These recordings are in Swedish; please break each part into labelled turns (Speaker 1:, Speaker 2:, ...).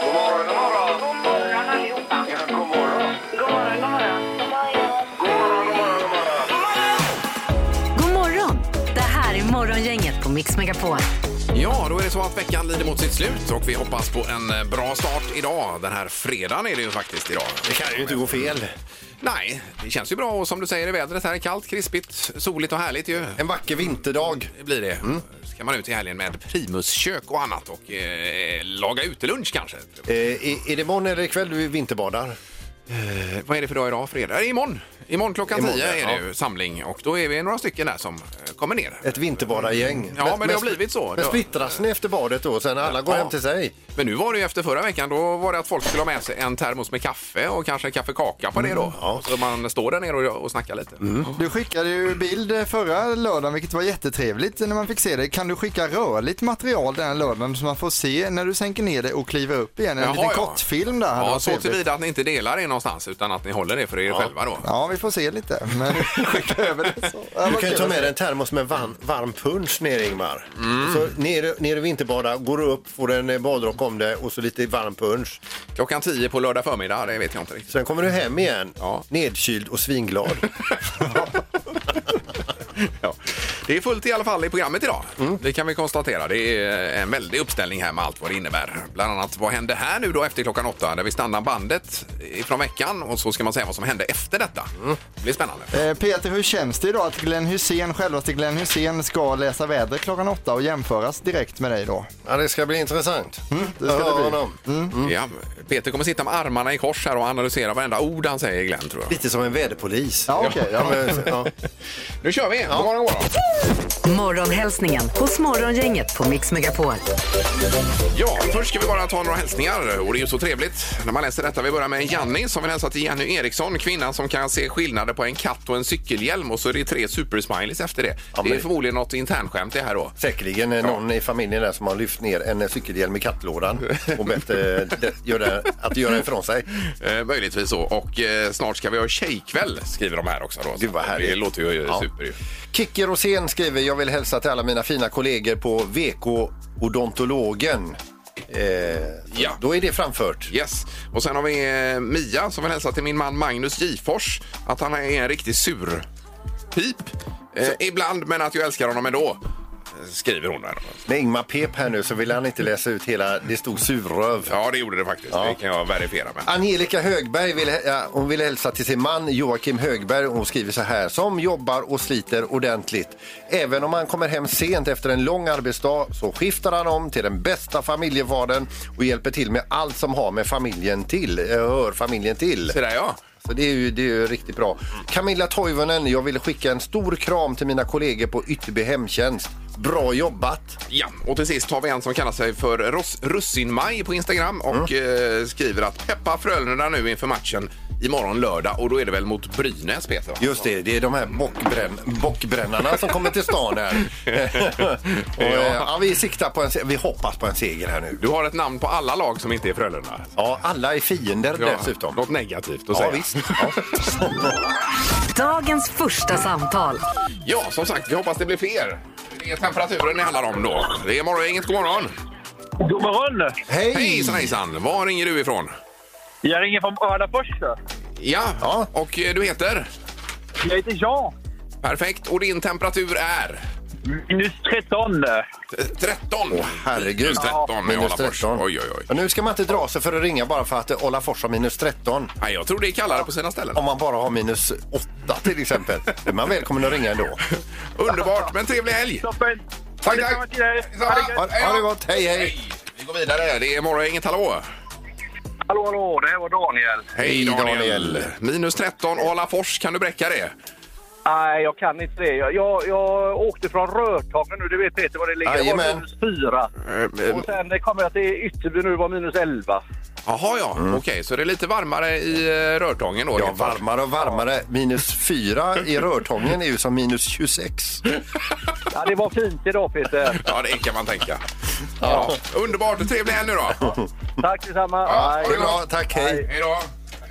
Speaker 1: God morgon, god morgon.
Speaker 2: God morgon allihopa.
Speaker 1: Ja, god morgon.
Speaker 2: God morgon, god morgon.
Speaker 1: God morgon, god morgon, god morgon.
Speaker 3: God morgon! Det här är Morgongänget på Mix Megapol.
Speaker 4: Ja, då är det så att veckan lider mot sitt slut och vi hoppas på en eh, bra start idag. Den här fredagen är det ju faktiskt idag.
Speaker 5: Det kan ju inte gå fel.
Speaker 4: Nej, det känns ju bra och som du säger i vädret här är kallt, krispigt, soligt och härligt ju.
Speaker 5: En vacker vinterdag.
Speaker 4: Det blir det.
Speaker 5: Mm.
Speaker 4: Ska man ut i helgen med primuskök och annat och eh, laga utelunch kanske?
Speaker 5: Eh, är, är det morgon eller ikväll du vinterbadar?
Speaker 4: Eh, vad är det för dag idag? Fredag? Eh, imorgon! Imorgon klockan
Speaker 5: Imorgon,
Speaker 4: 10 är det
Speaker 5: ja.
Speaker 4: ju samling och då är vi några stycken där som eh, kommer ner.
Speaker 5: Ett vinterbadargäng.
Speaker 4: Ja, men det har blivit så.
Speaker 5: Men splittras ni efter badet då? Sen alla går
Speaker 4: Ja.
Speaker 5: hem till sig?
Speaker 4: Men nu var det ju efter förra veckan, då var det att folk skulle ha med sig en termos med kaffe och kanske en kaffekaka på det
Speaker 6: Mm.
Speaker 4: då. Så man står där nere och, och snackar lite.
Speaker 6: Du skickade ju bild förra lördagen vilket var jättetrevligt när man fick se det. Kan du skicka rörligt material den lördagen så man får se när du sänker ner det och kliver upp igen? En
Speaker 4: Jaha,
Speaker 6: liten
Speaker 4: ja.
Speaker 6: kortfilm där. hade
Speaker 4: Ja,
Speaker 6: varit
Speaker 4: så
Speaker 6: trevligt.
Speaker 4: tillvida att ni inte delar det någonstans utan att ni håller det för er själva då.
Speaker 6: Ja, vi får se lite. Men skicka över det så. Ja,
Speaker 5: Du
Speaker 6: vad
Speaker 5: kan ju
Speaker 6: kul.
Speaker 5: ta med dig en termos med varm, varm punsch ner Ingmar.
Speaker 4: Mm.
Speaker 5: Så ner, ner och vinterbada, går upp, får en eh, badrock om dig och så lite varm punsch.
Speaker 4: Klockan 10 på lördag förmiddag, det vet jag inte riktigt.
Speaker 5: Sen kommer du hem igen,
Speaker 4: Ja.
Speaker 5: nedkyld och svinglad.
Speaker 4: Ja. Det är fullt i alla fall i programmet idag.
Speaker 6: Mm.
Speaker 4: Det kan vi konstatera. Det är en väldig uppställning här med allt vad det innebär. Bland annat vad hände här nu då efter klockan åtta där vi stannar bandet från veckan och så ska man säga vad som hände efter detta. Det blir spännande.
Speaker 6: Eh, Peter, hur känns det idag att Glenn Hussein, självaste Glenn Hussein ska läsa vädret klockan åtta och jämföras direkt med dig då?
Speaker 5: ja, det ska bli intressant. Mm,
Speaker 6: det ska det bli.
Speaker 4: Mm. Ja, Peter kommer sitta med armarna i kors här och analysera varenda ord han säger Glenn tror jag.
Speaker 5: Lite som en väderpolis.
Speaker 6: Ja, okej. ja.
Speaker 5: men, ja.
Speaker 4: Nu kör vi! God morgon, god morgon.
Speaker 3: Morgonhälsningen hos Morgongänget på Mix Megapol.
Speaker 4: Ja, först ska vi bara ta några hälsningar och det är ju så trevligt när man läser detta. Vi börjar med Janni som vill hälsa till Jenny Eriksson, kvinnan som kan se skillnader på en katt och en cykelhjälm och så är det tre supersmileys efter det. Det är
Speaker 5: men-
Speaker 4: förmodligen något internskämt det här då.
Speaker 5: Säkerligen eh, någon i familjen där som har lyft ner en eh, cykelhjälm i kattlådan och bett eh, det, göra, att göra ifrån sig.
Speaker 4: Eh, möjligtvis så. Och eh, snart ska vi ha tjejkväll skriver de här också. Då.
Speaker 5: Gud, vad härligt.
Speaker 4: Det låter ju eh,
Speaker 5: Ja.
Speaker 4: super ju.
Speaker 5: Kicki Rosén skriver jag vill hälsa till alla mina fina kollegor på VK Odontologen. Eh,
Speaker 4: Ja.
Speaker 5: Då är det framfört.
Speaker 4: Yes. Och sen har vi eh, Mia som vill hälsa till min man Magnus Gifors att han är en riktig sur typ. Eh, ibland, men att jag älskar honom ändå. eh, Skriver hon där.
Speaker 5: När Ingmar pep här nu så vill han inte läsa ut hela, det stod surröv.
Speaker 4: Ja, det gjorde det faktiskt. Det kan jag verifiera med.
Speaker 5: Angelica Högberg vill, ja, hon vill hälsa till sin man Joakim Högberg. Hon skriver så här. Som jobbar och sliter ordentligt. Även om han kommer hem sent efter en lång arbetsdag så skiftar han om till den bästa familjefadern och hjälper till med allt som har med familjen till, eh, hör familjen till.
Speaker 4: Så där ja.
Speaker 5: Så det är ju, det är ju riktigt bra. Camilla Toivonen, jag vill skicka en stor kram till mina kollegor på Ytterby Hemtjänst. Bra jobbat!
Speaker 4: ja. Och till sist har vi en som kallar sig för Ros- Russinmaj på Instagram och
Speaker 5: Mm.
Speaker 4: eh, skriver att peppa Frölunda nu inför matchen imorgon lördag och då är det väl mot Brynäs Peter? va?
Speaker 5: Just det, det är de här bockbrän bockbrännarna som kommer till stan här. och, eh, ja, vi siktar på en se- vi hoppas på en seger här nu.
Speaker 4: Du har ett namn på alla lag som inte är Frölunda.
Speaker 5: Ja, alla är fiender dessutom.
Speaker 4: Något negativt att
Speaker 5: Ja,
Speaker 4: säga.
Speaker 5: visst. Ja.
Speaker 3: Dagens första samtal.
Speaker 4: Ja, som sagt, vi hoppas det blir fler. Det är temperaturen det handlar om då. Det är morgongänget, god morgon!
Speaker 7: God morgon!
Speaker 5: Hej!
Speaker 4: Hejsan hejsan! Var ringer du ifrån?
Speaker 7: Jag ringer från Örnafors.
Speaker 4: Ja,
Speaker 5: Ja.
Speaker 4: och eh, du heter?
Speaker 7: Jag heter Jean,
Speaker 4: Perfekt, och din temperatur är?
Speaker 7: minus 13.
Speaker 4: T- 13!
Speaker 5: herregud.
Speaker 4: Minus 13
Speaker 5: Ja,
Speaker 4: i
Speaker 5: minus
Speaker 4: Alafors.
Speaker 5: 13.
Speaker 4: Oj, oj, oj.
Speaker 5: Och nu ska man inte dra sig för att ringa bara för att eh, Olafors har minus 13.
Speaker 4: Nej, jag tror det är kallare på sina ställen.
Speaker 5: Om man bara har minus 8 till exempel. Då är man välkommen att ringa ändå.
Speaker 4: Underbart, men trevlig helg!
Speaker 7: Toppen!
Speaker 4: Tack, tack!
Speaker 7: Detsamma till dig.
Speaker 4: Detsamma.
Speaker 7: Ha det gött.
Speaker 5: Ha, ha det gott, hej hej!
Speaker 4: Hej! Vi går vidare. Det är morgongänget, hallå!
Speaker 7: Hallå, hallå, det här var Daniel.
Speaker 4: Hej
Speaker 5: Hej,
Speaker 4: Daniel!
Speaker 5: Daniel.
Speaker 4: Minus 13 och Alafors, kan du bräcka det?
Speaker 7: Nej, jag kan inte det. Jag, jag, jag åkte från Rödtagen nu, du vet Peter var det ligger. Det var
Speaker 5: Jajamän.
Speaker 7: minus 4.
Speaker 4: Eh, eh,
Speaker 7: Och sen kom jag till Ytterby nu, det var minus 11.
Speaker 4: Jaha, ja. Okej, så det är lite varmare i eh, Rörtången då?
Speaker 5: Mm. Ja,
Speaker 4: helt klart.
Speaker 5: varmare och varmare. Minus 4 i Rörtången är ju som minus 26.
Speaker 7: Ja, det var fint idag Peter.
Speaker 4: Ja, det kan man tänka. Ja. Underbart och trevlig helg nu då.
Speaker 7: Tack detsamma.
Speaker 4: Ja,
Speaker 7: Hej.
Speaker 5: Det är bra, tack, hej.
Speaker 4: Hej då.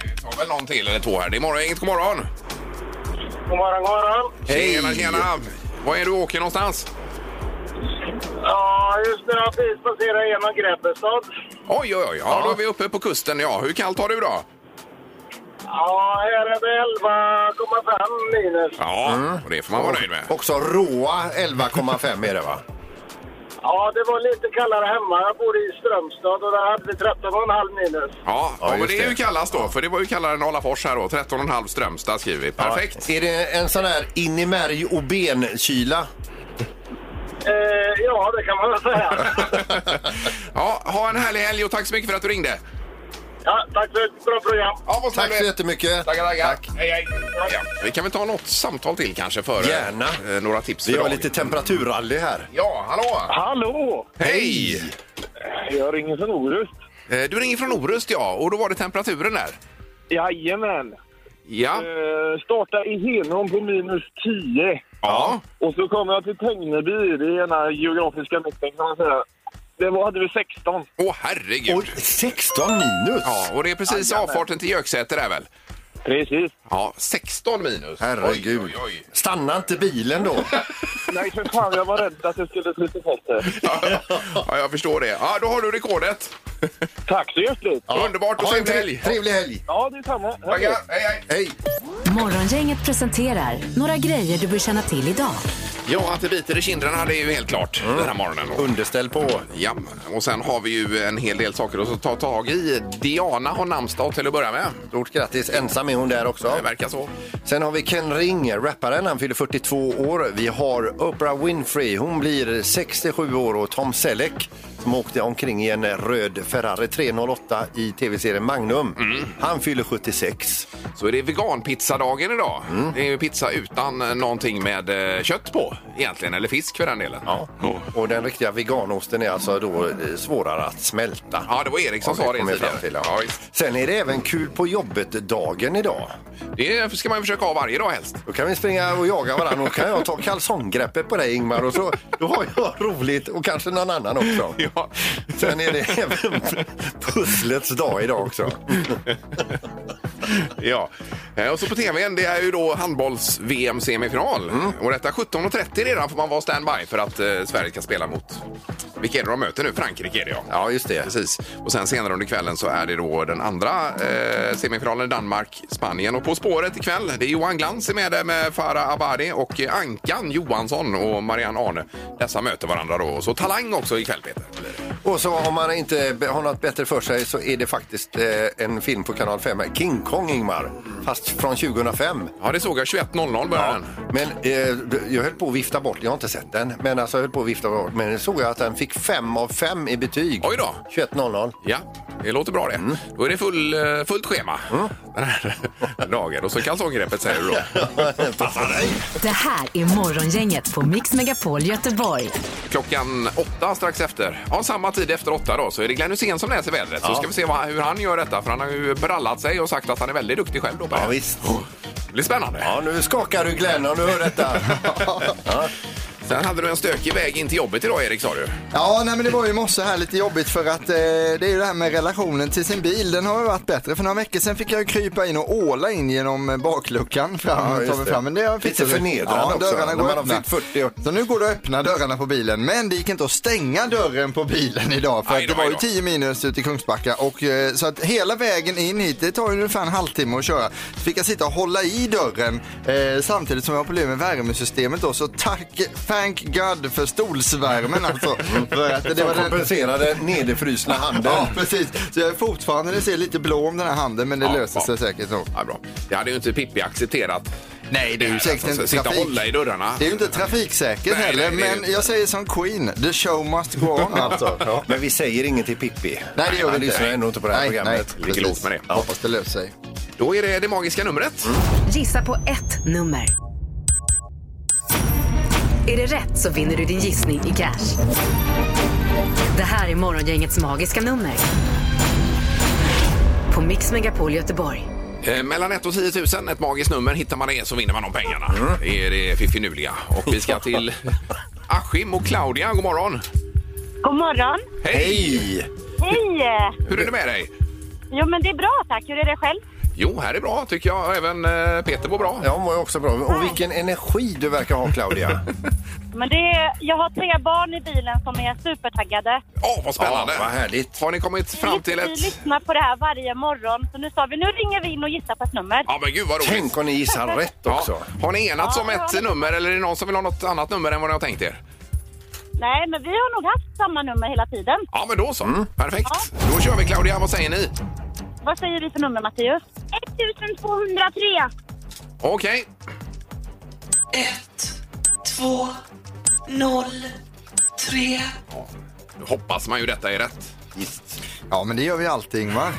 Speaker 4: Vi tar väl någon till eller två här. Det är morgon, inget god morgon.
Speaker 8: God morgon, god morgon.
Speaker 4: Hej. Tjena, tjena. Var är du åker någonstans?
Speaker 8: Ja, just nu har jag precis passerat igenom Grebbestad.
Speaker 4: Oj, oj, oj. Ja, då är vi uppe på kusten. Ja, hur kallt har du då?
Speaker 8: Ja, här är det 11,5 minus.
Speaker 4: Ja,
Speaker 5: Mm.
Speaker 4: och det får man vara nöjd med.
Speaker 5: Också råa 11,5 är det va?
Speaker 8: Ja, det var lite kallare hemma. Jag bor i Strömstad och där hade vi 13,5 minus.
Speaker 4: Ja,
Speaker 5: Ja,
Speaker 4: ja, men
Speaker 5: just
Speaker 4: det är ju
Speaker 5: det.
Speaker 4: kallast då, för det var ju kallare än Alafors här då. 13,5 Strömstad skriver vi. Perfekt.
Speaker 5: Är det en sån här in i märg och benkyla?
Speaker 8: Eh, ja, det kan man väl säga.
Speaker 4: Ja, ha en härlig helg och tack så mycket för att du ringde.
Speaker 8: Ja, tack för ett bra program.
Speaker 4: Ja, vad snäll
Speaker 5: Tack
Speaker 4: du
Speaker 5: så
Speaker 4: är.
Speaker 5: jättemycket.
Speaker 4: Tackar, tackar. Hej, hej. Ja, vi kan väl ta något samtal till kanske före
Speaker 5: Gärna.
Speaker 4: eh, några tips för
Speaker 5: Vi har
Speaker 4: dagen.
Speaker 5: lite temperaturrally här.
Speaker 4: Ja, hallå!
Speaker 7: Hallå!
Speaker 4: Hej!
Speaker 7: Jag ringer från Orust.
Speaker 4: Eh, Du ringer från Orust, ja. Och då var det temperaturen där.
Speaker 7: Jajamän.
Speaker 4: Ja.
Speaker 7: Eh, starta i Henån på minus 10.
Speaker 4: Ja.
Speaker 7: Och så kommer jag till Tegneby, det är ena geografiska mitten kan man säga. Det var, hade vi 16.
Speaker 4: Åh, herregud.
Speaker 5: Oj, 16 minus!
Speaker 4: Ja, och det är precis avfarten till Göksäter där väl?
Speaker 7: Precis.
Speaker 4: Ja, 16 minus.
Speaker 5: Herregud.
Speaker 4: Oj, oj, oj.
Speaker 5: Stanna inte bilen då.
Speaker 7: Nej, för fan, jag var rädd att det skulle sluta fast det.
Speaker 4: Ja, jag förstår det. Ja, då har du rekordet.
Speaker 7: Tack så hjärtligt!
Speaker 4: Underbart och
Speaker 5: Ha en
Speaker 4: trevlig
Speaker 5: tre-
Speaker 4: helg.
Speaker 5: Trevlig helg!
Speaker 7: Ja, detsamma. Hej.
Speaker 4: Tackar. Hej, hej.
Speaker 5: Hej!
Speaker 3: Morgongänget presenterar några grejer du bör känna till idag.
Speaker 4: Ja, att det biter i kinderna det är ju helt klart
Speaker 5: Mm.
Speaker 4: den här morgonen.
Speaker 5: Underställ på.
Speaker 4: Ja, och sen har vi ju en hel del saker att ta tag i. Diana har namnsdag till att börja med.
Speaker 5: Stort grattis. Ensam är hon där också.
Speaker 4: Det verkar så.
Speaker 5: Sen har vi Ken Ring, rapparen. Han fyller 42 år. Vi har Oprah Winfrey. Hon blir 67 år. Och Tom Selleck, som åkte omkring i en röd Ferrari 308 i tv-serien Magnum,
Speaker 4: Mm.
Speaker 5: han fyller 76.
Speaker 4: Så är det veganpizzadagen idag. Det är ju pizza utan eh, någonting med eh, kött på egentligen, eller fisk för den delen. Ja, Oh.
Speaker 5: Och den riktiga veganosten är alltså då eh, svårare att smälta.
Speaker 4: ja det var Erik som
Speaker 5: Har vi
Speaker 4: sa det
Speaker 5: kommit fram
Speaker 4: tidigare.
Speaker 5: till, ja.
Speaker 4: ja, visst.
Speaker 5: Sen är det även kul på jobbet-dagen idag.
Speaker 4: det ska man ju försöka ha varje dag helst.
Speaker 5: Då kan vi springa och jaga varandra. Då kan jag ta kalsonggreppet på dig Ingmar och så då har jag roligt och kanske någon annan också.
Speaker 4: Ja.
Speaker 5: Sen är det även pusslets dag idag också.
Speaker 4: Ja. Eh, Och så på tvn, det är ju då handbolls-VM-semifinal.
Speaker 5: Mm.
Speaker 4: Och detta 17.30 redan får man vara standby för att eh, Sverige ska spela mot... Vilka är det de möter nu? Frankrike är det ja.
Speaker 5: Ja, just det.
Speaker 4: Precis. Och sen senare under kvällen så är det då den andra eh, semifinalen Danmark-Spanien. Och På spåret ikväll, det är Johan Glans är med där med Farah Abadi och eh, Ankan Johansson och Marianne Arne. Dessa möter varandra då. Och så Talang också ikväll Peter.
Speaker 5: Och så om man inte be- har något bättre för sig så är det faktiskt eh, en film på kanal 5, här, King Kong Ingmar, fast från 2005.
Speaker 4: Ja, det såg jag. 21.00 börjar den.
Speaker 5: Men eh, jag höll på att vifta bort, jag har inte sett den, men alltså jag höll på att vifta bort. Men såg jag att den fick 5 av 5 i betyg.
Speaker 4: Oj då.
Speaker 5: 21.00.
Speaker 4: Ja, det låter bra det.
Speaker 6: Mm.
Speaker 4: Då är det full, eh, fullt schema den här
Speaker 6: Mm.
Speaker 4: dagen. Och så kalsonggreppet säger du då.
Speaker 5: Passa dig!
Speaker 3: Det här är Morgongänget på Mix Megapol Göteborg.
Speaker 4: Klockan åtta strax efter. Ja, samma tid efter åtta då så är det Glenn Hysén som läser vädret. Så ska vi se vad, hur han gör detta. För han har ju brallat sig och sagt att han är väldigt duktig själv då. på det
Speaker 5: Ja,
Speaker 4: här.
Speaker 5: visst.
Speaker 4: Det blir spännande.
Speaker 5: Ja, nu skakar du Glenn om du hör detta. ja.
Speaker 4: Sen hade du en stökig väg in till jobbet idag Erik sa du.
Speaker 6: Ja, nej, men det var ju i morse här lite jobbigt för att eh, det är ju det här med relationen till sin bil. Den har ju varit bättre. För några veckor sedan fick jag ju krypa in och åla in genom eh, bakluckan
Speaker 5: Ja,
Speaker 6: fram,
Speaker 5: just
Speaker 6: tar vi
Speaker 5: det.
Speaker 6: fram. Men det har jag
Speaker 5: Lite
Speaker 6: fixat.
Speaker 5: förnedrande
Speaker 6: ja,
Speaker 5: också,
Speaker 6: Dörrarna
Speaker 5: när
Speaker 6: går
Speaker 5: man har
Speaker 6: öppna.
Speaker 5: fyllt 40 år.
Speaker 6: Så nu går det att öppna dörrarna på bilen. Men det gick inte att stänga dörren på bilen idag för
Speaker 4: Aj
Speaker 6: att
Speaker 4: då,
Speaker 6: det var
Speaker 4: aj
Speaker 6: ju
Speaker 4: då.
Speaker 6: 10 minus ute i Kungsbacka. Och, eh, så att hela vägen in hit, det tar ju ungefär en halvtimme att köra. Så fick jag sitta och hålla i dörren eh, samtidigt som jag har problem med värmesystemet då. Så tack, thank God för stolsvärmen alltså. För att det
Speaker 5: Som
Speaker 6: var den-
Speaker 5: kompenserade nederfrusna handen.
Speaker 6: Ja, precis. Så jag är fortfarande, det ser lite blå om den här handen, men det
Speaker 4: Ja,
Speaker 6: löser
Speaker 4: ja.
Speaker 6: sig säkert nog.
Speaker 4: Ja, bra. Det hade ju inte Pippi accepterat.
Speaker 6: Nej, det är ju säkert
Speaker 4: Alltså,
Speaker 6: inte
Speaker 4: sitta och
Speaker 6: trafik-
Speaker 4: hålla i dörrarna.
Speaker 6: Det är ju inte trafiksäkert
Speaker 4: Nej,
Speaker 6: heller,
Speaker 4: nej, det är ju
Speaker 6: men
Speaker 4: inte.
Speaker 6: jag säger som Queen, the show must go on alltså. Ja.
Speaker 5: Men vi säger inget till Pippi.
Speaker 6: Nej, det gör vi
Speaker 5: Han
Speaker 6: inte.
Speaker 5: lyssnar ändå inte på det här
Speaker 6: Nej,
Speaker 5: programmet.
Speaker 6: nej,
Speaker 4: Ligger
Speaker 6: precis.
Speaker 4: lågt med det.
Speaker 6: Ja. Hoppas det löser sig.
Speaker 4: Då är det det magiska numret.
Speaker 3: Gissa på ett nummer. Är det rätt så vinner du din gissning i cash. Det här är Morgongängets magiska nummer. På Mix Megapol Göteborg.
Speaker 4: Eh, mellan 1 och 10 000, ett magiskt nummer. Hittar man det så vinner man de pengarna.
Speaker 5: Mm.
Speaker 4: Det är det fiffinuliga. Och vi ska till Askim och Claudia. God morgon!
Speaker 9: God morgon.
Speaker 4: Hej!
Speaker 5: Hej!
Speaker 9: Hej!
Speaker 4: Hur är det med dig?
Speaker 9: Jo, men det är bra tack. Hur är det själv?
Speaker 4: Jo, här är bra tycker jag. Och Även eh, Peter mår bra.
Speaker 5: Ja, hon var ju också bra. Och vilken energi du verkar ha, Claudia.
Speaker 9: Men det är, jag har tre barn i bilen som är supertaggade.
Speaker 4: Åh, vad spännande!
Speaker 5: Ja, vad härligt.
Speaker 4: Har ni kommit fram till
Speaker 9: Vi
Speaker 4: ett...
Speaker 9: lyssnar på det här varje morgon. Så nu sa vi, nu ringer vi in och gissar på ett nummer.
Speaker 4: Ja, men gud vad roligt!
Speaker 5: Tänk om ni gissar rätt
Speaker 4: Ja.
Speaker 5: också.
Speaker 4: Har ni enats
Speaker 9: Ja,
Speaker 4: om
Speaker 9: det har
Speaker 4: ett
Speaker 9: vi.
Speaker 4: nummer eller är det någon som vill ha något annat nummer än vad ni har tänkt er?
Speaker 9: Nej, men vi har nog haft samma nummer hela tiden.
Speaker 4: Ja, men då så.
Speaker 5: Mm.
Speaker 4: Perfekt. Då kör vi Claudia, vad säger ni?
Speaker 9: Vad säger vi för nummer, Mattias? 1203.
Speaker 4: Okej.
Speaker 10: ett, två, noll, tre.
Speaker 4: Nu hoppas man ju detta är rätt.
Speaker 6: Ja, men det gör vi alltid, Ingmar.